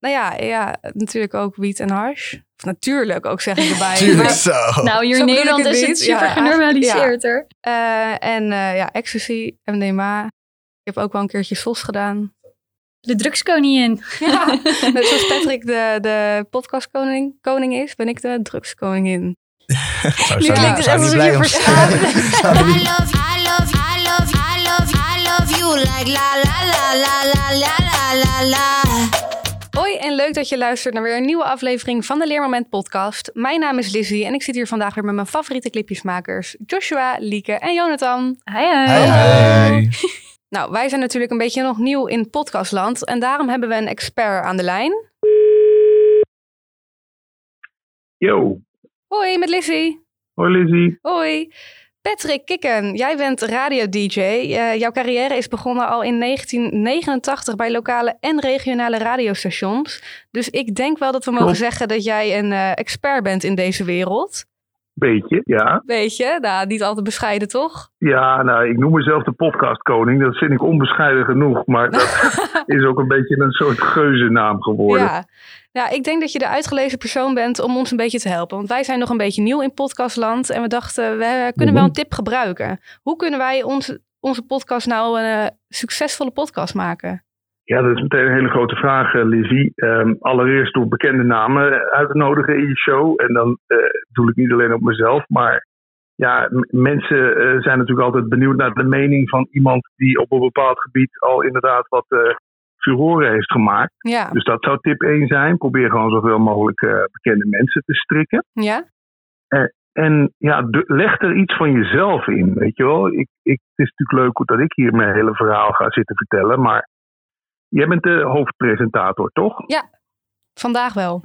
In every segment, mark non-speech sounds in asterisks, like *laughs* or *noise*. Nou ja, ja, natuurlijk ook wiet en hash. Of natuurlijk ook, zeg ik erbij. Tuurlijk Maar, Oh. zo. Nou, hier Zo in bedoel ik Nederland het is het niet. super Ja, genormaliseerd hoor. eh, en eh, ja, ecstasy, MDMA. Ik heb ook wel een keertje SOS gedaan. De drugskoningin. *laughs* Ja. Net zoals Patrick de, de podcastkoning koning is, ben ik de drugskoningin. Zou, klinkt zou, het zou niet alsof blij je om *laughs* verslaafd zijn. I love, I love, I love, I love, I love you like la la la la la la la la la. Hoi en leuk dat je luistert naar weer een nieuwe aflevering van de Leermoment podcast. Mijn naam is Lizzie en ik zit hier vandaag weer met mijn favoriete clipjesmakers Joshua, Lieke en Jonathan. Hi, hi. Hey, hey. Nou, wij zijn natuurlijk een beetje nog nieuw in podcastland en daarom hebben we een expert aan de lijn. Yo, Hoi, met Lizzie. hoi Lizzie. Hoi. Patrick Kikken, jij bent radio-dj. Eh, jouw carrière is begonnen al in 1989 bij lokale en regionale radiostations. Dus ik denk wel dat we mogen Klopt. zeggen dat jij een eh, expert bent in deze wereld. Beetje, ja. Weet je, nou, niet altijd bescheiden toch? Ja, nou, ik noem mezelf de podcastkoning. Dat vind ik onbescheiden genoeg, maar dat is ook een beetje een soort geuzennaam geworden. Ja. ja, ik denk dat je de uitgelezen persoon bent om ons een beetje te helpen. Want wij zijn nog een beetje nieuw in podcastland en we dachten, we eh, kunnen wel een tip gebruiken. Hoe kunnen wij onze onze podcast nou een eh, succesvolle podcast maken? Ja, dat is meteen een hele grote vraag, eh, Lizzie. Ehm, allereerst door bekende namen uit te nodigen in je show. En dan eh, doe ik niet alleen op mezelf, maar ja, m- mensen eh, zijn natuurlijk altijd benieuwd naar de mening van iemand die op een bepaald gebied al inderdaad wat eh furoren heeft gemaakt. Ja, Dus dat zou tip 1 zijn. Probeer gewoon zoveel mogelijk eh, bekende mensen te strikken. ja, En ja, de- leg er iets van jezelf in, weet je wel. Ik, ik, het is natuurlijk leuk dat ik hier mijn hele verhaal ga zitten vertellen, maar jij bent de hoofdpresentator, toch? vandaag wel.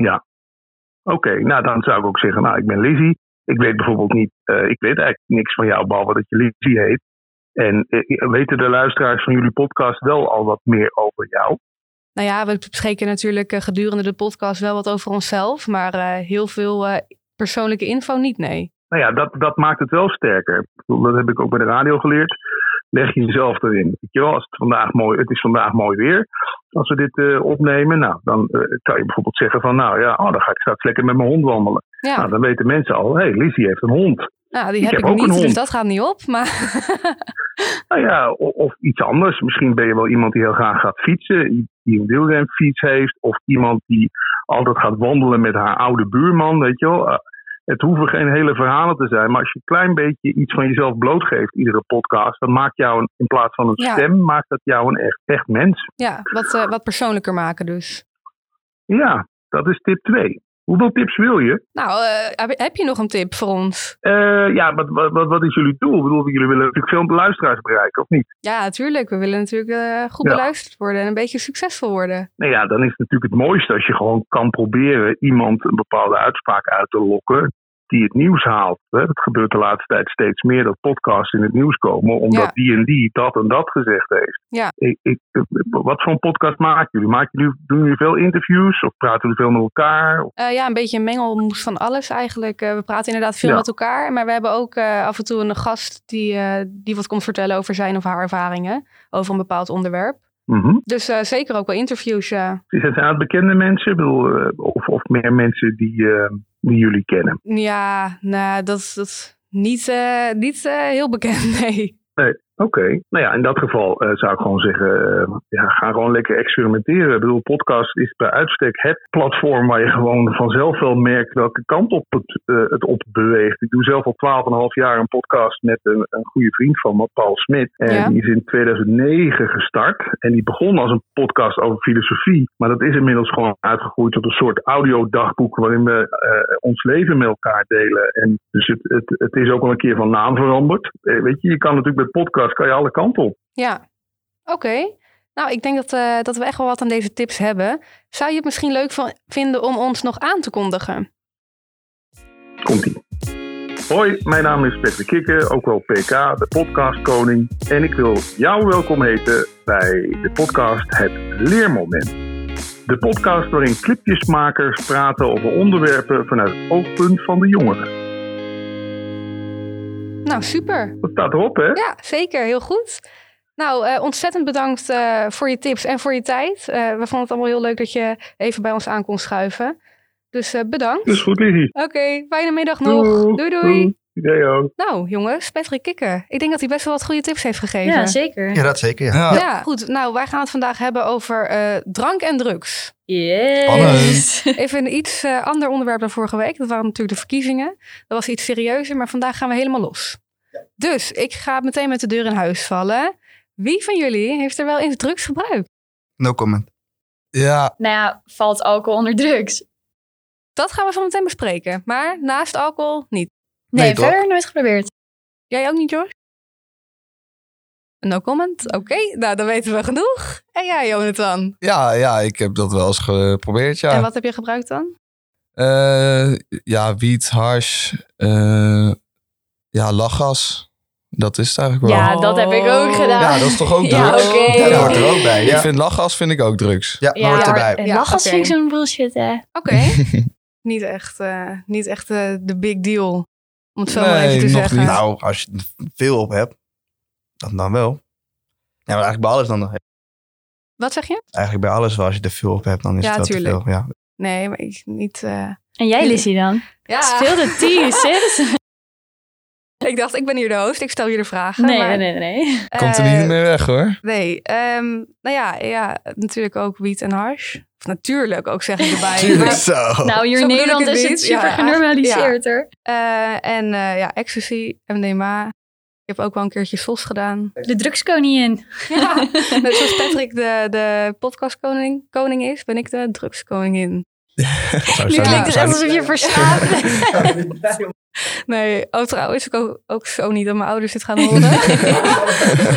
Oké, nou dan zou ik ook zeggen, nou ik ben Lizzie. Ik weet bijvoorbeeld niet, eh, ik weet eigenlijk niks van jou, behalve dat je Lizzie heet. En eh, weten de luisteraars van jullie podcast wel al wat meer over jou? Nou ja, we bespreken natuurlijk eh, gedurende de podcast wel wat over onszelf, maar eh, heel veel eh, persoonlijke info niet, nee. Nou ja, dat, dat maakt het wel sterker. Ik bedoel, Dat heb ik ook bij de radio geleerd. Leg jezelf erin. Weet je wel, als het, vandaag mooi, het is vandaag mooi weer. Als we dit eh, opnemen, nou, dan eh, kan je bijvoorbeeld zeggen van... nou ja, oh, dan ga ik straks lekker met mijn hond wandelen. Ja, Nou, dan weten mensen al, hé, hey, Lizzie heeft een hond. nou, die ik heb ik, heb ook een niet, dus hond. dat gaat niet op. Maar *laughs* Nou ja, o- of, iets anders. Misschien ben je wel iemand die heel graag gaat fietsen. i- Die een wielrenfiets heeft. Of iemand die altijd gaat wandelen met haar oude buurman, weet je wel. Eh, Het hoeven geen hele verhalen te zijn. Maar als je een klein beetje iets van jezelf blootgeeft, iedere podcast, dan maakt jou een, in plaats van een Ja. stem, maakt dat jou een echt, echt mens. ja, wat, eh, wat persoonlijker maken dus. Ja, dat is tip 2. Hoeveel tips wil je? Nou, eh, heb- heb je nog een tip voor ons? Eh, ja, wat, wat, wat- wat is jullie doel? Ik bedoel, jullie willen natuurlijk veel luisteraars bereiken, of niet? Ja, natuurlijk. We willen natuurlijk eh, goed Ja. beluisterd worden en een beetje succesvol worden. Nou ja, dan is het natuurlijk het mooiste als je gewoon kan proberen iemand een bepaalde uitspraak uit te lokken die het nieuws haalt. Hè, Dat gebeurt de laatste tijd steeds meer dat podcasts in het nieuws komen omdat Ja. die en die dat en dat gezegd heeft. Ja. Ik, ik, wat voor een podcast maken jullie? Maken jullie doen jullie veel interviews of praten jullie veel met elkaar? Of- Eh, ja, een beetje een mengelmoes van alles eigenlijk. Eh, we praten inderdaad veel Ja. met elkaar. Maar we hebben ook eh, af en toe een gast die, eh, die wat komt vertellen over zijn of haar ervaringen. Over een bepaald onderwerp. Mhm. Dus eh, zeker ook wel interviews. ja. Zijn het bekende mensen Ik bedoel, eh, of, of meer mensen die, eh, die jullie kennen? ja, nou, dat is- dat is niet, eh, niet eh, heel bekend, *laughs* nee. Oké, nou ja, in dat geval eh, zou ik gewoon zeggen, eh, ja, ga gewoon lekker experimenteren. Ik bedoel, podcast is bij uitstek het platform waar je gewoon vanzelf wel merkt welke kant op het, eh, het op beweegt. Ik doe zelf al 12,5 jaar een podcast met een, een goede vriend van me, Paul Smit. En Ja. die is in 2009 gestart. En die begon als een podcast over filosofie. Maar dat is inmiddels gewoon uitgegroeid tot een soort audiodagboek waarin we eh, ons leven met elkaar delen. En dus het, het, het is ook al een keer van naam veranderd. Eh, weet je, je kan natuurlijk met podcast kan je alle kanten op. Ja, oké. Nou, ik denk dat, eh, dat we echt wel wat aan deze tips hebben. Zou je het misschien leuk van- vinden om ons nog aan te kondigen? Komt ie. Hoi, mijn naam is Peter Kikker, ook wel PK, de podcastkoning. En ik wil jou welkom heten bij de podcast Het Leermoment. De podcast waarin clipjesmakers praten over onderwerpen vanuit het oogpunt van de jongeren. Nou, super. Nou, Dat staat erop, hè? Ja, zeker. Heel goed. Nou, eh, ontzettend bedankt eh, voor je tips en voor je tijd. Eh, we vonden het allemaal heel leuk dat je even bij ons aan kon schuiven. Dus eh, bedankt. Dus goed, Lizzie. Oké, fijne middag nog. Doeg. Doei, doei. Jij ook. Nou, jongens, Patrick Kikker. Ik denk dat hij best wel wat goede tips heeft gegeven. Ja, zeker. Ja, dat zeker. Ja. Ja. Ja, goed. Nou, wij gaan het vandaag hebben over eh, drank en drugs. Yes. Even een iets eh, ander onderwerp dan vorige week. Dat waren natuurlijk de verkiezingen. Dat was iets serieuzer, maar vandaag gaan we helemaal los. Dus ik ga meteen met de deur in huis vallen. Wie van jullie heeft er wel eens drugs gebruikt? No comment. ja, *laughs* nou ja, valt alcohol onder drugs? Dat gaan we zo meteen bespreken. Maar naast alcohol niet. Nee, Nee, toch? verder nooit geprobeerd. Jij ook niet, George? No comment. Oké, nou dan weten we genoeg. En jij, Jonathan? ja, ja, ik heb dat wel eens geprobeerd, ja. En wat heb je gebruikt dan? Eh, ja, wiet, hars, eh, ja, lachgas. Dat is het eigenlijk wel. Ja, dat heb ik ook gedaan. Ja, dat is toch *laughs* ook Ja, drugs? oké. Ja, dat hoort er ook bij. Ik Ja, vind lachgas vind ik ook drugs. ja, Ja, hoort maar- erbij. En Ja, lachgas oké. vind ik zo'n bullshit, hè. Oké. *laughs* niet echt, eh, niet echt eh, de big deal. Om het zo maar Nee, even te nog zeggen. niet. Nou, als je er veel op hebt, dan, dan wel. Ja, maar eigenlijk bij alles dan. nog. Wat zeg je? Eigenlijk bij alles wel, als je er veel op hebt, dan is Ja, het wel tuurlijk. te veel. Ja. Nee, maar ik niet. eh, En jij, Lizzie dan? Ah. Speel de tea, sis. ik dacht, ik ben hier de host. Ik stel hier de vragen. Nee, maar, nee, nee, nee. eh, Komt er niet meer weg, hoor. Nee, ehm, nou ja, ja, natuurlijk ook wiet en hars. Of natuurlijk ook, zeg ik *laughs* erbij. Tuurlijk Maar, zo. Nou, hier Zo bedoel ik in Nederland het is niet. het super Ja, genormaliseerd, hoor. eh, en eh, ja, ecstasy, MDMA. Ik heb ook wel een keertje SOS gedaan. De drugskoningin. Ja, *laughs* net zoals Patrick de, de podcastkoning koning is, ben ik de drugskoningin. Zo, Nu zo, klinkt zo. het alsof *laughs* je verslaafd Nee, oh trouwens, ik ook, ook zo niet dat mijn ouders dit gaan *laughs* horen.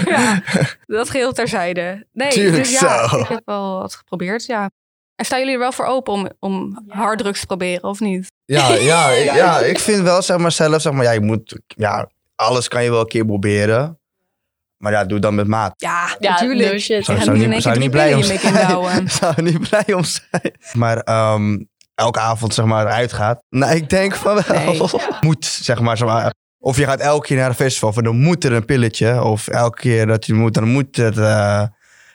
ja, dat geheel terzijde. Nee, Tuurlijk dus ja, zo. ik heb wel wat geprobeerd, ja. En staan jullie er wel voor open om, om Ja. harddrugs te proberen, of niet? Ja, ja, ik- ja, ik vind wel, zeg maar zelf, zeg maar, ja, je moet, ja, alles kan je wel een keer proberen. Maar ja, doe dan met maat. Ja, dus Ja, natuurlijk. no shit. Je Zou- gaat zou niet in één niet- keer zou drie niet blij pillen om in je mik inbouwen. *laughs* Ik zou er niet blij om zijn. Maar ehm, elke avond, zeg maar, uitgaat. Nou, ik denk van wel. *laughs* Nee. Moet, zeg maar, zeg maar. Of je gaat elke keer naar een festival, van dan moet er een pilletje. Of elke keer dat je moet, dan moet het. eh,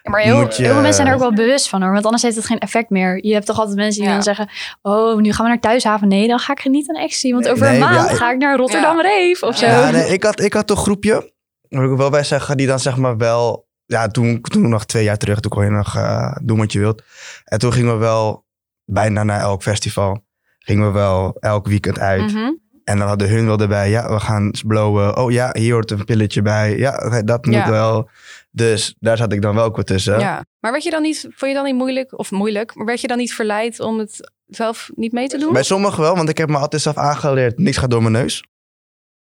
Maar heel, Moet je- heel veel mensen zijn er ook wel bewust van hoor. Want anders heeft het geen effect meer. Je hebt toch altijd mensen die Ja. dan zeggen... Oh, nu gaan we naar Thuishaven. Nee, dan ga ik niet aan Ecstasy. Want Nee, over een nee, maand ja, ik- ga ik naar Rotterdam Reef of zo. Ja, nee, ik had, ik had een groepje, moet ik wel bij zeggen, die dan zeg maar wel... Ja, toen, toen nog twee jaar terug, toen kon je nog eh, doen wat je wilt. En toen gingen we wel bijna naar elk festival. Gingen we wel elk weekend uit. Mhm. En dan hadden hun wel erbij, ja, we gaan blowen. Oh ja, hier hoort een pilletje bij. Ja, oké, dat moet Ja. wel. Dus daar zat ik dan wel ook wat tussen. Ja. Maar werd je dan niet, vond je dan niet moeilijk, of moeilijk, maar werd je dan niet verleid om het zelf niet mee te doen? Bij sommigen wel, want ik heb me altijd zelf aangeleerd. Niks gaat door mijn neus.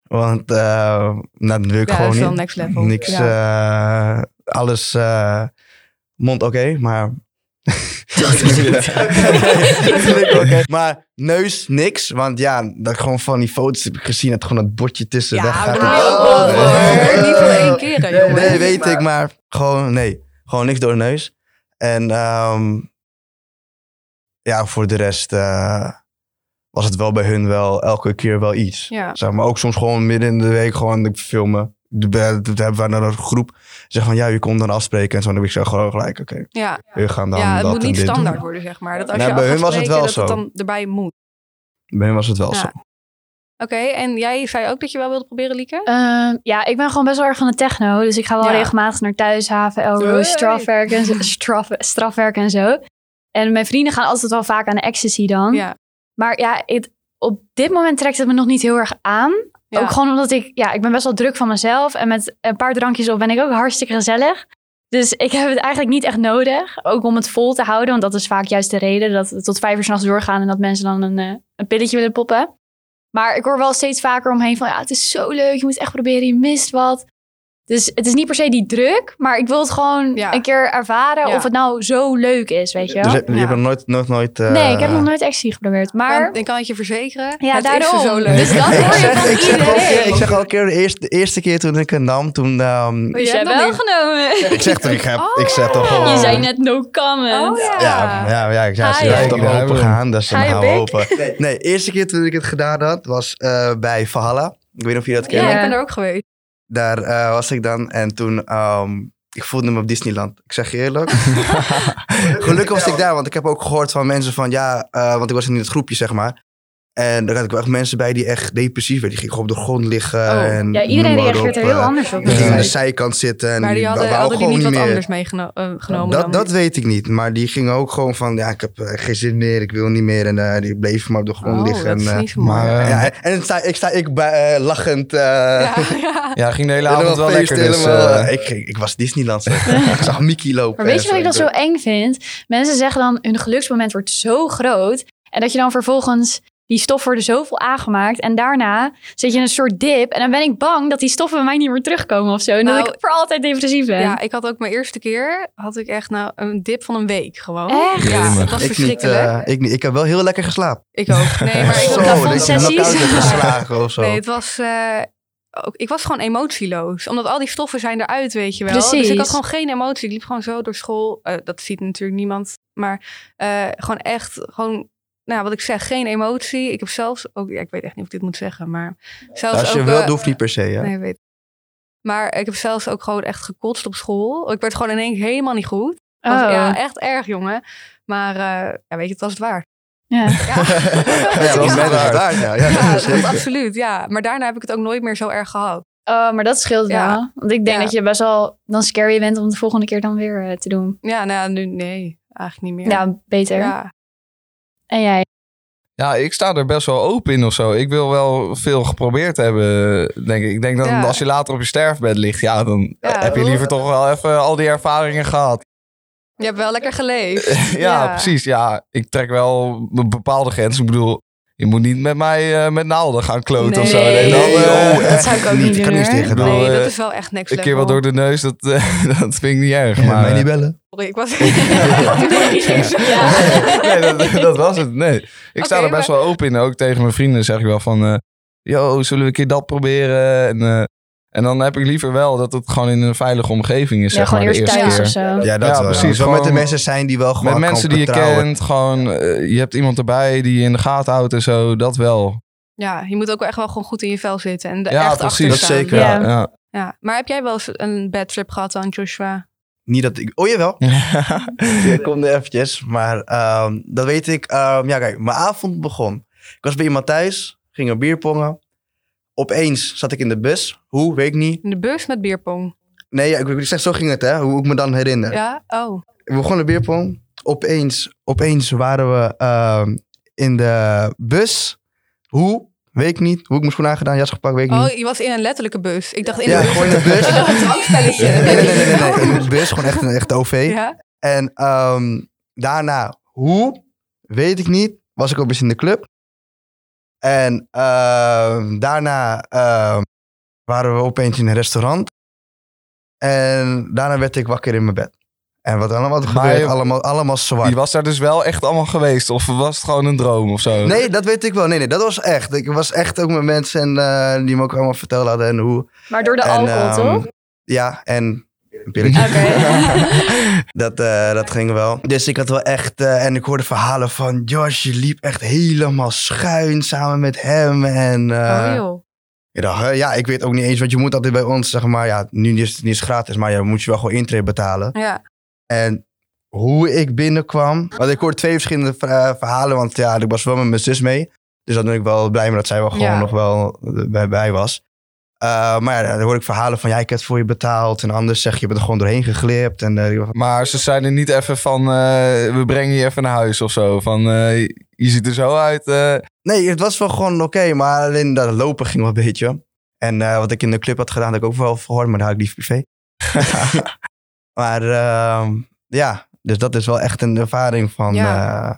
Want eh nou, dat wil ik Ja, gewoon dat is wel niet. next level. Niks, eh, alles eh, mond oké, maar... *laughs* Natuurlijk oké. Maar neus niks, want ja, dat ik gewoon van die foto's heb ik gezien, dat gewoon dat bordje tussen Oh, Ja, weggaat. maar dat wil je ook wel horen. Niet van één keer, hè, jongen. Nee, weet ik, maar gewoon nee, gewoon niks door de neus. En ehm, ja, voor de rest eh, was het wel bij hun wel elke keer wel iets. Ja. Zeg maar ook soms gewoon midden in de week gewoon ik filmen. Dat hebben we naar een groep. Zeg van ja, je komt dan afspreken. En zo dan heb ik zo gewoon gelijk. Oké, Ja, we gaan dan. ja het dat moet en niet dit doen. standaard worden, zeg maar. Dat als Nee, je bij af hun gaat was het spreken, wel dat het zo. dan erbij moet. Bij hen was het wel Ja. zo. Oké, en jij zei ook dat je wel wilde proberen, Lieke? Ehm, ja, ik ben gewoon best wel erg van de techno. Dus ik ga wel Ja. regelmatig naar Thuishaven, Elrose, Hey. strafwerk, en zo, straf, strafwerk en zo. En mijn vrienden gaan altijd wel vaak aan de ecstasy dan. Ja. Maar ja, het- op dit moment trekt het me nog niet heel erg aan. Ja. Ook gewoon omdat ik, ja, ik ben best wel druk van mezelf. En met een paar drankjes op ben ik ook hartstikke gezellig. Dus ik heb het eigenlijk niet echt nodig. Ook om het vol te houden. Want dat is vaak juist de reden dat we tot vijf uur s'nachts doorgaan. En dat mensen dan een, eh, een pilletje willen poppen. Maar ik hoor wel steeds vaker omheen van, ja, het is zo leuk. Je moet echt proberen, je mist wat. Dus het is niet per se die druk. Maar ik wil het gewoon Ja. een keer ervaren Ja. of het nou zo leuk is, weet je wel. Dus je, je Ja. hebt nog nooit. nooit, nooit eh, nee, ik heb nog *laughs* nooit ecstasy geprobeerd. Maar... Maar ik kan het je verzekeren. Ja, het daarom. is zo leuk. Dus dat hoor je ik zeg, van ik zeg al een keer, iedereen. ik zeg al een keer de, eerste, de eerste keer toen ik het nam, toen. ehm, Oh, jij hebt nog niet- genomen. ik zeg toch, ik, heb, ik zeg toch Oh. gewoon. Je zei net no Oh comment. ja. Ja, ja, ja, ik zei, Ga ze je? laten Ga je toch open bek? gaan, dus dan Ga je gaan we bek? open. Nee, nee, eerste keer toen ik het gedaan had, was eh, bij Valhalla. Ik weet niet of je dat kent. Ja, Ja. ik ben er ook geweest. Daar eh, was ik dan en toen ehm, ik voelde me op Disneyland. Ik zeg je eerlijk. Gelukkig was ik daar, want ik heb ook gehoord van mensen van ja, eh, want ik was in het groepje, zeg maar. En daar had ik wel echt mensen bij die echt depressief werden. Die gingen gewoon op de grond liggen. en Oh. ja, iedereen noem maar reageert er op, heel eh, anders op. Die gingen aan de natuurlijk. zijkant zitten en Maar die hadden, wou hadden die gewoon niet wat meer. anders meegenomen Nou, Dat, Nou, dan? dat weet ik niet. Maar die gingen ook gewoon van, ja, ik heb eh, geen zin meer, ik wil niet meer. En eh, die bleven maar op de grond Oh, liggen. dat en, is eh, niet zo mooi. Maar eh, ja, ja, en sta, ik sta ik bij- eh, lachend. eh *laughs* ja, ja. ging de hele helemaal avond wel feest, lekker. Dus, helemaal, eh, eh, ik, ging- ik was Disneyland. zeg. *laughs* ik zag Mickey lopen. Maar weet je en wat ik dan zo doe- eng vind? Mensen zeggen dan hun geluksmoment wordt zo groot. En dat je dan vervolgens die stoffen worden zoveel aangemaakt. En daarna zit je in een soort dip. En dan ben ik bang dat die stoffen bij mij niet meer terugkomen of zo. En Nou, dat ik voor altijd depressief ben. *laughs* Ja, ik had ook mijn eerste keer, had ik echt nou een dip van een week gewoon. Echt? Ja, Jemig. dat was Ik niet, verschrikkelijk. eh, ik niet. Ik heb wel heel lekker geslapen. Ik ook. Nee, *laughs* maar ik Zo, had dat daarvan vond dat je een sessies. knockout hebt geslagen of zo. Nee, het was. eh, ook, ik was gewoon emotieloos. Omdat al die stoffen zijn eruit, weet je wel. Dus Precies. ik had gewoon geen emotie. Ik liep gewoon zo door school. Eh, dat ziet natuurlijk niemand. Maar eh, gewoon echt, gewoon. Nou, wat ik zeg, geen emotie. Ik heb zelfs ook. Ja, ik weet echt niet of ik dit moet zeggen, maar. Zelfs Als je ook, wilt, eh, hoeft niet per se. hè. Nee, weet ik. Maar ik heb zelfs ook gewoon echt gekotst op school. Ik werd gewoon in één keer helemaal niet goed. Dat was- Oh. Ja, echt erg, jongen. Maar eh, ja, weet je, het was het waard. Ja. Ja. Ja, dat want *laughs* is men is waar. daar, ja. ja, *laughs* Ja, dat zeker. absoluut, ja. Maar daarna heb ik het ook nooit meer zo erg gehad. Oh, maar dat scheelt Ja. wel. Want ik denk Ja. dat je best wel dan scary bent om de volgende keer dan weer eh, te doen. Ja, nou ja, nu nee, eigenlijk niet meer. Ja, beter. Ja. En jij? ja, ik sta er best wel open in of zo. Ik wil wel veel geprobeerd hebben, denk ik. Ik denk dat Ja. als je later op je sterfbed ligt, ja, dan Ja, heb je liever toch wel even al die ervaringen gehad. Je hebt wel lekker geleefd. *laughs* ja, precies. Ja, ik trek wel een bepaalde grens. Ik bedoel, je moet niet met mij eh, met naalden gaan kloten of zo. Nee, dan, eh, joh, dat zou ik echt ook niet Ik kan doen, niks hoor. tegen doen. bedoel, Nee, dat eh, is wel echt niks Een keer wat door level. de neus, dat, *laughs* eh, dat vind ik niet erg. maar, mij eh, niet bellen. Sorry, Ik was... *laughs* *laughs* nee, dat, dat was het. Nee. Ik sta Oké, er best wel open in. Ook tegen mijn vrienden zeg ik wel van... eh, Yo, zullen we een keer dat proberen? En, eh, en dan heb ik liever wel dat het gewoon in een veilige omgeving is. Ja, zeg gewoon maar, de eerst eerste thuis keer. of zo. Ja, dat Ja, wel. precies. Precies. Wel met de Gewoon- mensen zijn die wel gewoon Met kan mensen die je vertrouwen. kent. Gewoon, eh, je hebt iemand erbij die je in de gaten houdt en zo. Dat wel. ja, je moet ook wel echt wel gewoon goed in je vel zitten. En de Ja, echt precies. achter Dat staan. zeker. Ja. Ja. Ja. Maar heb jij wel eens een bad trip gehad dan, Joshua? Niet dat ik... Oh, jawel. *laughs* Ik kom er eventjes. Maar ehm, dat weet ik. Ehm, ja, kijk. Mijn avond begon. Ik was bij iemand thuis. Ging een bier pongen. Opeens zat ik in de bus. Hoe? Weet ik niet. In de bus met bierpong? Nee, ja, ik, ik zeg, zo ging het, hè. Hoe ik me dan herinner. Ja? Oh. We begonnen bierpong. Opeens, opeens waren we ehm, in de bus. Hoe? Weet ik niet. Hoe ik mijn schoen aangedaan, jas gepakt, weet ik niet. Oh, je was in een letterlijke bus. Ik dacht in Ja, de bus. gewoon in *laughs* de bus. Een drankspelletje. Nee, nee, nee, nee, nee, nee. In de bus, gewoon echt een echt OV. Ja? En ehm, daarna, hoe, weet ik niet, was ik opeens in de club. En ehm, daarna ehm, waren we opeens in een restaurant. En daarna werd ik wakker in mijn bed. En wat dan wat Maar gebeurt, je- allemaal, allemaal zwart. Die was daar dus wel echt allemaal geweest. Of was het gewoon een droom of zo? Nee, dat weet ik wel. Nee, nee, dat was echt. Ik was echt ook met mensen en, eh, die me ook allemaal verteld hadden en hoe. Maar door de en, alcohol, ehm, toch? Ja, en een pilletje. *laughs* Dat, eh, dat ging wel. Dus ik had wel echt... eh, en ik hoorde verhalen van... Josh, je liep echt helemaal schuin samen met hem. En eh, oh joh. ik dacht, hè, ja, ik weet ook niet eens... Want je moet altijd bij ons, zeg maar... Ja, nu is het niet eens gratis, maar ja, moet je wel gewoon intree betalen. Ja. En hoe ik binnenkwam... Want ik hoorde twee verschillende ver- eh, verhalen. Want ja, ik was wel met mijn zus mee. Dus dan ben ik wel blij mee dat zij wel gewoon Ja. nog wel bij, bij was. Eh, maar ja, dan hoor ik verhalen van... Ja, ik heb het voor je betaald. En anders zeg je, je bent er gewoon doorheen geglipt. En eh, ik dacht, Maar ze zijn er niet even van, eh, we brengen je even naar huis of zo. Van, eh, je ziet er zo uit. eh. Nee, het was wel gewoon oké, maar alleen dat lopen ging wel een beetje. En eh, wat ik in de club had gedaan, had ik ook wel verhoord, maar daar had ik liever *laughs* privé. maar ehm, ja, dus dat is wel echt een ervaring van Ja. eh,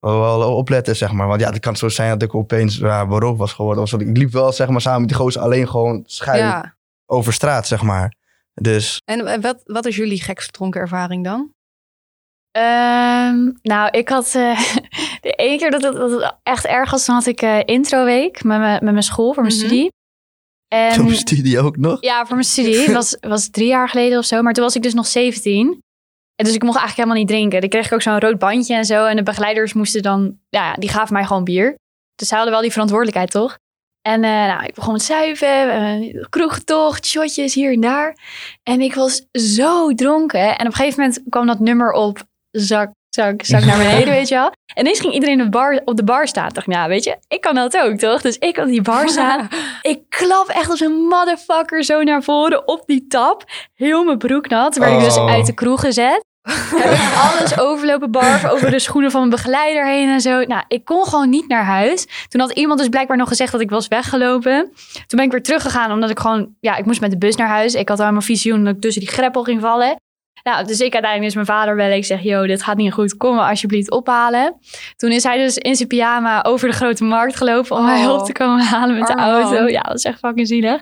wel opletten, zeg maar. Want ja, het kan zo zijn dat ik opeens ja, beroofd was geworden. Of zo. Ik liep wel, zeg maar, samen met die gozer alleen gewoon schuin ja. over straat, zeg maar. Dus En eh, wat, wat is jullie gekste dronken ervaring dan? Ehm, nou, ik had eh, *laughs* de ene keer dat het, dat het echt erg was, toen had ik eh, introweek met, mijn- met mijn school voor mijn Mhm. studie. En, *laughs* zo'n studie ook nog. *laughs* Ja, voor mijn studie. Het was, was drie jaar geleden of zo. Maar toen was ik dus nog 17. En dus ik mocht eigenlijk helemaal niet drinken. Dan kreeg ik ook zo'n rood bandje en zo. En de begeleiders moesten dan... Ja, die gaven mij gewoon bier. Dus ze hadden wel die verantwoordelijkheid, toch? En eh, nou, ik begon met zuipen, eh, kroegtocht, shotjes hier en daar. En ik was zo dronken. En op een gegeven moment kwam dat nummer op, zak, zak, zak naar beneden, weet je wel. En ineens ging iedereen op de bar, op de bar staan. Ik dacht, nou weet je, ik kan dat ook, toch? Dus ik op die *laughs* bar staan. ik klap echt als een motherfucker zo naar voren op die tap. Heel mijn broek nat, werd ik dus Oh. uit de kroeg gezet. Heb ik alles overlopen barven, over de schoenen van mijn begeleider heen en zo. Nou, ik kon gewoon niet naar huis. Toen had iemand dus blijkbaar nog gezegd dat ik was weggelopen. Toen ben ik weer teruggegaan, omdat ik gewoon... Ja, ik moest met de bus naar huis. Ik had al mijn visioen dat ik tussen die greppel ging vallen. Nou, dus ik uiteindelijk is mijn vader bellen. Ik zeg, yo, dit gaat niet goed. Kom me alsjeblieft ophalen. Toen is hij dus in zijn pyjama over de grote markt gelopen... om mij Oh. hulp te komen halen met de Arme man. auto. Ja, dat is echt fucking zielig.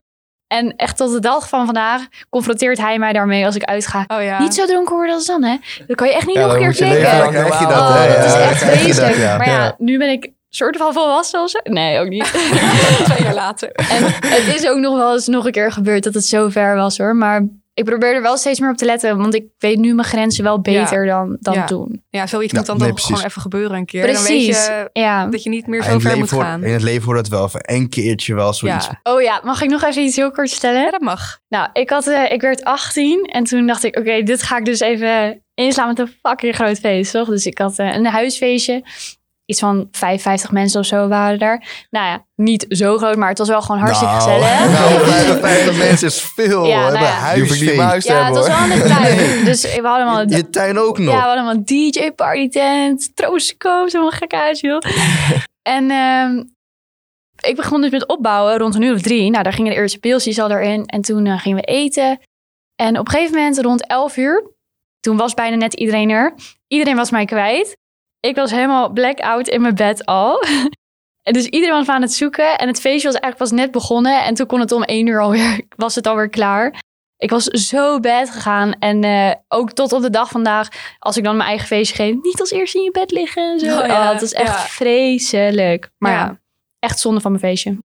En echt tot de dag van vandaag confronteert hij mij daarmee als ik uitga. Oh ja. Niet zo dronken worden als dan, hè? Dan kan je echt niet nog een dan keer moet je eh, flikken. leven Ja, lang dan krijg je dat. Oh, Ja, hè. dat is Ja, dan echt *laughs* krijg je dat, vreselijk. ja. Maar ja, Ja. nu ben ik soort van volwassen of zo. Nee, ook niet. *laughs* *laughs* Twee jaar later. en het is ook nog wel eens nog een keer gebeurd dat het zo ver was, hoor. Maar ik probeer er wel steeds meer op te letten. Want ik weet nu mijn grenzen wel beter dan, dan Ja. toen. Ja, zoiets Ja, moet dan nee, toch precies. gewoon even gebeuren een keer. Dan Precies. weet Ja. je dat je niet meer in, zo het ver leven moet hoort, gaan. in het leven hoort dat wel even een keertje wel zoiets. Ja. Oh ja, mag ik nog even iets heel kort Ja, vertellen? dat mag. Nou, ik, had, eh, ik werd 18 en toen dacht ik, oké, dit ga ik dus even inslaan met een fucking groot feest, toch? Dus ik had eh, een huisfeestje. Iets van 55 mensen of zo waren daar. Nou ja, niet zo groot, maar het was wel gewoon hartstikke *laughs* nou, gezellig. Nou, 55 mensen is veel. Ja, nou hoor. Bij ja. Die hoef ik niet in mijn huisfeest. huis te ja, het hebben was hoor. wel in de *laughs* tuin. Dus we hadden allemaal Je, je tuin ook nog. ja, we hadden allemaal DJ party tent, troostkoop, zo'n gek huis, *laughs* joh. en ehm, ik begon dus met opbouwen rond een uur of drie. Nou, daar gingen de eerste pilsjes al erin. En toen eh, gingen we eten. En op een gegeven moment rond elf uur, toen was bijna net iedereen er. Iedereen was mij kwijt. Ik was helemaal blackout in mijn bed al. *laughs* En dus iedereen was me aan het zoeken. En het feestje was eigenlijk pas net begonnen. En toen kon het om één uur alweer, *laughs* was het alweer klaar. Ik was zo bed gegaan. En eh, ook tot op de dag vandaag, als ik dan mijn eigen feestje geef, niet als eerste in je bed liggen. en Zo. Oh Oh, ja, het was echt ja. vreselijk. Maar Ja. ja. echt zonde van mijn feestje.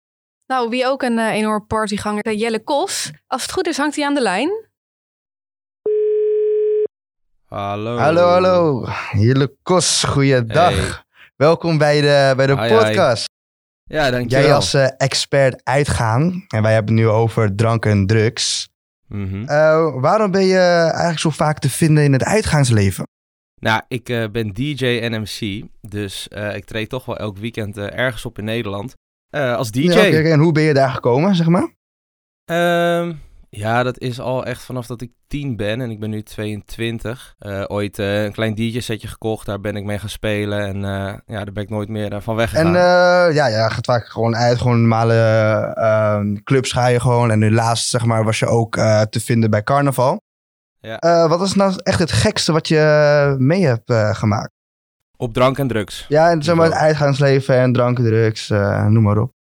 Nou, wie ook een eh, enorme partyganger, eh, Jelle Kos. Als het goed is, hangt hij aan de lijn. Hallo. Hallo, hallo. Heerlijk Kos, goeiedag. Hey. Welkom bij de, bij de Hi, hi. podcast. Ja, dankjewel. Jij als eh, expert uitgaan, en wij hebben het nu over drank en drugs. Mhm. Eh, waarom ben je eigenlijk zo vaak te vinden in het uitgaansleven? Nou, ik eh, ben DJ en MC, dus eh, ik treed toch wel elk weekend eh, ergens op in Nederland. eh, als DJ. Ja, oké, oké. En hoe ben je daar gekomen, zeg maar? Ehm, ja, dat is al echt vanaf dat ik 10 ben en ik ben nu 22. Eh, ooit eh, een klein DJ-setje gekocht, daar ben ik mee gaan spelen en eh, ja, daar ben ik nooit meer eh, van En weggegaan. eh, ja, ja, gaat vaak gewoon uit, gewoon normale eh, clubs ga je gewoon. En nu laatst, zeg maar, was je ook eh, te vinden bij carnaval. Ja. Eh, wat is nou echt het gekste wat je mee hebt eh, gemaakt? Op drank en drugs. Ja, en zeg maar het uitgaansleven en drank, en drugs, eh, noem maar op. *laughs*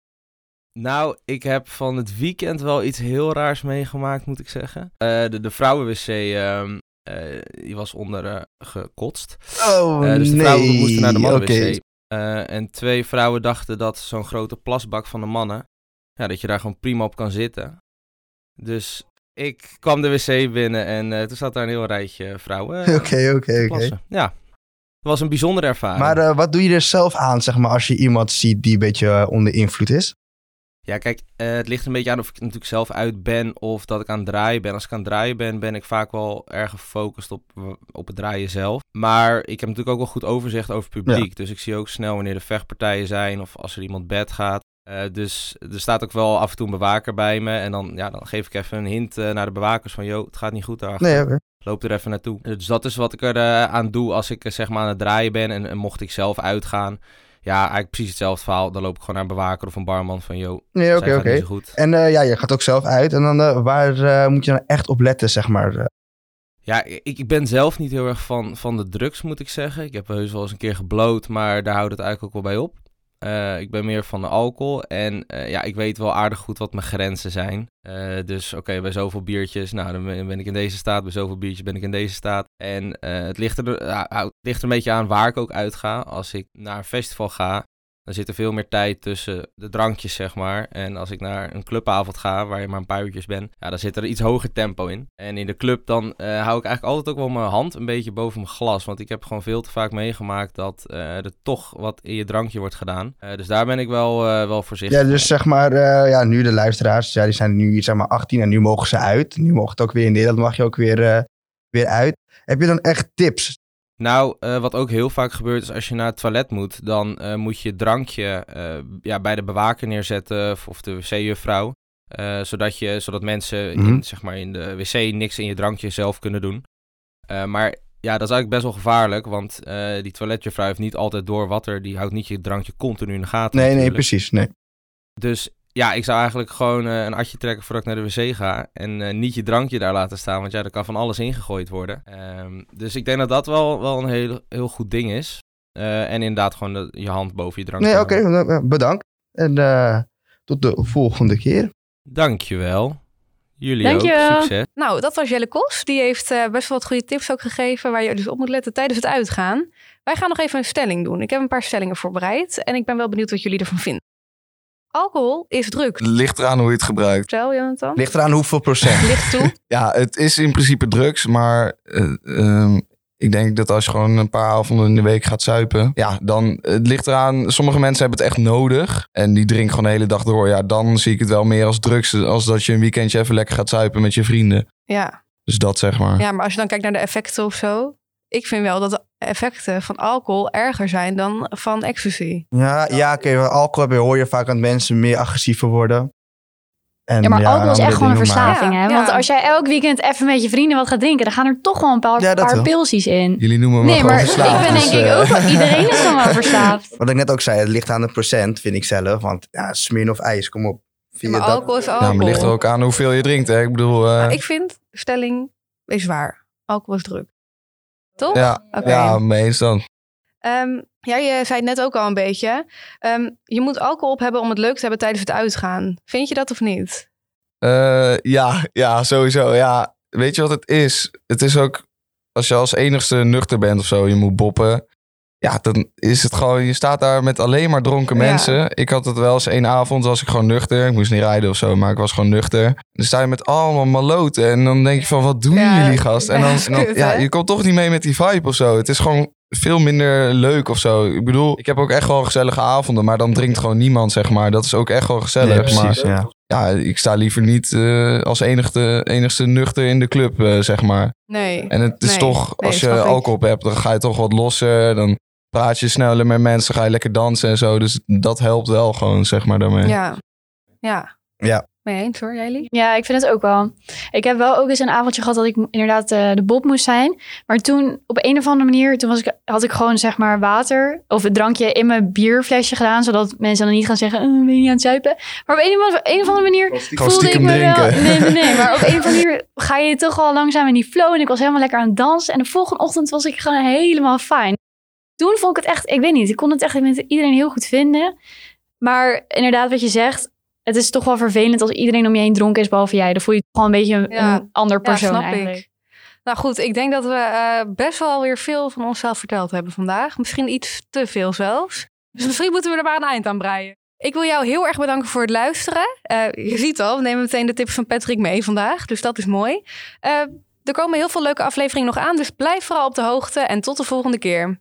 Nou, ik heb van het weekend wel iets heel raars meegemaakt, moet ik zeggen. Eh, de, de vrouwenwc, ehm, eh, die was onder eh, gekotst. Oh, Eh, dus de vrouwen nee. moesten naar de mannen Eh, Oké. en twee vrouwen dachten dat zo'n grote plasbak van de mannen, ja, dat je daar gewoon prima op kan zitten. Dus ik kwam de wc binnen en eh, toen zat daar een heel rijtje vrouwen eh, *laughs* Oké, te oké, oké. plassen. Ja, het was een bijzondere ervaring. Maar eh, wat doe je er zelf aan, zeg maar, als je iemand ziet die een beetje eh, onder invloed is? Ja, kijk, eh, het ligt een beetje aan of ik natuurlijk zelf uit ben of dat ik aan het draaien ben. Als ik aan het draaien ben, ben ik vaak wel erg gefocust op, op het draaien zelf. Maar ik heb natuurlijk ook wel goed overzicht over het publiek. Dus ik zie ook snel wanneer er vechtpartijen zijn of als er iemand bed gaat. Eh, dus er staat ook wel af en toe een bewaker bij me. En dan, ja, dan geef ik even een hint eh, naar de bewakers van, yo, het gaat niet goed daar. Nee, oké. Loop er even naartoe. Dus dat is wat ik er eh, aan doe als ik eh, zeg maar aan het draaien ben en, en mocht ik zelf uitgaan. Ja, eigenlijk precies hetzelfde verhaal. Dan loop ik gewoon naar een bewaker of een barman van, yo, Nee, oké, zij gaat oké. niet zo goed. En eh, ja, je gaat ook zelf uit. En dan eh, waar eh, moet je dan echt op letten, zeg maar? eh? Ja, ik, ik ben zelf niet heel erg van, van de drugs, moet ik zeggen. Ik heb heus wel eens een keer gebloot, maar daar houdt het eigenlijk ook wel bij op. Eh, ik ben meer van de alcohol en eh, ja, ik weet wel aardig goed wat mijn grenzen zijn. Eh, dus oké, bij zoveel biertjes, nou dan ben ben ik in deze staat, bij zoveel biertjes ben ik in deze staat. En eh, het, ligt er, ja, het ligt er een beetje aan waar ik ook uitga. Als ik naar een festival ga, Dan zit er veel meer tijd tussen de drankjes, zeg maar. En als ik naar een clubavond ga, waar je maar een paar uurtjes bent, ja, dan zit er iets hoger tempo in. En in de club dan eh, hou ik eigenlijk altijd ook wel mijn hand een beetje boven mijn glas. Want ik heb gewoon veel te vaak meegemaakt dat eh, er toch wat in je drankje wordt gedaan. Eh, dus daar ben ik wel, eh, wel voorzichtig Ja, dus zeg maar, eh, ja, nu de luisteraars, ja, die zijn nu zeg maar 18 en nu mogen ze uit. Nu mogen het ook weer in Nederland, mag je ook weer, eh, weer uit. Heb je dan echt tips? Nou, eh, wat ook heel vaak gebeurt is als je naar het toilet moet, dan eh, moet je het drankje eh, ja, bij de bewaker neerzetten of, of de wc-juffrouw. eh, zodat, je, zodat mensen in, Mhm. zeg maar, in de wc niks in je drankje zelf kunnen doen. Eh, maar ja, dat is eigenlijk best wel gevaarlijk, want eh, die toiletjuffrouw heeft niet altijd door wat er... Die houdt niet je drankje continu in de gaten Nee, nee, natuurlijk. precies. Nee. Dus ja, ik zou eigenlijk gewoon eh, een atje trekken voordat ik naar de wc ga. En eh, niet je drankje daar laten staan, want ja, er kan van alles ingegooid worden. Ehm, dus ik denk dat dat wel, wel een heel, heel goed ding is. Eh, en inderdaad gewoon de- je hand boven je drankje. Nee, oké, houden. eh, bedankt. En eh, tot de volgende keer. Dankjewel. Jullie Dankjewel. ook. Succes. Nou, dat was Jelle Kos. Die heeft eh, best wel wat goede tips ook gegeven waar je dus op moet letten tijdens het uitgaan. Wij gaan nog even een stelling doen. Ik heb een paar stellingen voorbereid en ik ben wel benieuwd wat jullie ervan vinden. Alcohol is druk. Ligt eraan hoe je het gebruikt. Vertel, Jonathan. Ligt eraan hoeveel procent. *laughs* Licht toe. Ja, het is in principe drugs, maar eh, ehm, ik denk dat als je gewoon een paar avonden in de week gaat zuipen, ja, dan eh, het ligt eraan. Sommige mensen hebben het echt nodig en die drinken gewoon de hele dag door. Ja, dan zie ik het wel meer als drugs, als dat je een weekendje even lekker gaat zuipen met je vrienden. Ja. Dus dat zeg maar. ja, maar als je dan kijkt naar de effecten of zo. Ik vind wel dat de effecten van alcohol erger zijn dan van ecstasy. Ja, ja oké, maar alcohol heb je- hoor je vaak dat mensen meer agressiever worden. En, Ja, maar alcohol is andere echt gewoon een dingen, maar- verslaving, Ja, hè? ja. Want als jij elk weekend even met je vrienden wat gaat drinken, dan gaan er toch wel een paar, Ja, dat paar wel. pilsies in. Jullie noemen me Nee, gewoon maar verslaafd. ik ben denk dus, ik eh, ook wel... Iedereen is dan wel verslaafd. Wat ik net ook zei, het ligt aan de procent, vind ik zelf. Want ja, smeer of ijs, kom op. Ja, Vind je maar dat- alcohol is Ja, maar alcohol. het ligt er ook aan hoeveel je drinkt. Hè? Ik bedoel, eh, Maar Oh. Ah, ik vind, de stelling is waar. Alcohol is druk. Toch? ja, Oké. ja, um, mee eens dan. Ehm, jij eh, zei het net ook al een beetje. Ehm, je moet alcohol op hebben om het leuk te hebben tijdens het uitgaan. Vind je dat of niet? Eh, ja, ja, sowieso. Ja. Weet je wat het is? Het is ook als je als enigste nuchter bent of zo, je moet boppen. Ja, dan is het gewoon, je staat daar met alleen maar dronken Ja. mensen. Ik had het wel eens één avond, was ik gewoon nuchter. Ik moest niet rijden of zo, maar ik was gewoon nuchter. Dan sta je met allemaal maloten en dan denk je van, wat doen Ja, jullie gast? En dan, ja, en dan- kut, ja, hè? je komt toch niet mee met die vibe of zo. Het is gewoon veel minder leuk of zo. Ik bedoel, ik heb ook echt wel gezellige avonden, maar dan drinkt gewoon niemand, zeg maar. Dat is ook echt wel gezellig. Nee, maar precies, ja. ja, ik sta liever niet eh, als enigste, enigste nuchter in de club, eh, zeg maar. Nee. En het is Nee, toch, nee, als snap je ik. alcohol op hebt, dan ga je toch wat losser. Dan praat je sneller met mensen, ga je lekker dansen en zo. Dus dat helpt wel gewoon, zeg maar, daarmee. Ja. Ja. Ja. Mee eens hoor, jullie? *laughs* Ja, ik vind het ook wel. Ik heb wel ook eens een avondje gehad dat ik inderdaad eh, de bob moest zijn. Maar toen, op een of andere manier, toen was ik, had ik gewoon zeg maar water of het drankje in mijn bierflesje gedaan. Zodat mensen dan niet gaan zeggen, "Eh, ben je niet aan het zuipen? Maar op een of andere, een of andere manier Gewoon voelde ik stiekem me wel... drinken. Nee, nee, nee. Maar op een of andere manier ga je toch al langzaam in die flow. En ik was helemaal lekker aan het dansen. En de volgende ochtend was ik gewoon helemaal fijn. Toen vond ik het echt, ik weet niet, ik kon het echt met iedereen heel goed vinden. Maar inderdaad, wat je zegt, het is toch wel vervelend als iedereen om je heen dronken is, behalve jij. Dan voel je toch gewoon een beetje een, Ja. een ander persoon snap ik. eigenlijk. Nou goed, ik denk dat we eh, best wel weer veel van onszelf verteld hebben vandaag. Misschien iets te veel zelfs. Dus misschien moeten we er maar een eind aan breien. Ik wil jou heel erg bedanken voor het luisteren. Eh, je ziet al, we nemen meteen de tips van Patrick mee vandaag. Dus dat is mooi. Eh, er komen heel veel leuke afleveringen nog aan. Dus blijf vooral op de hoogte. En tot de volgende keer.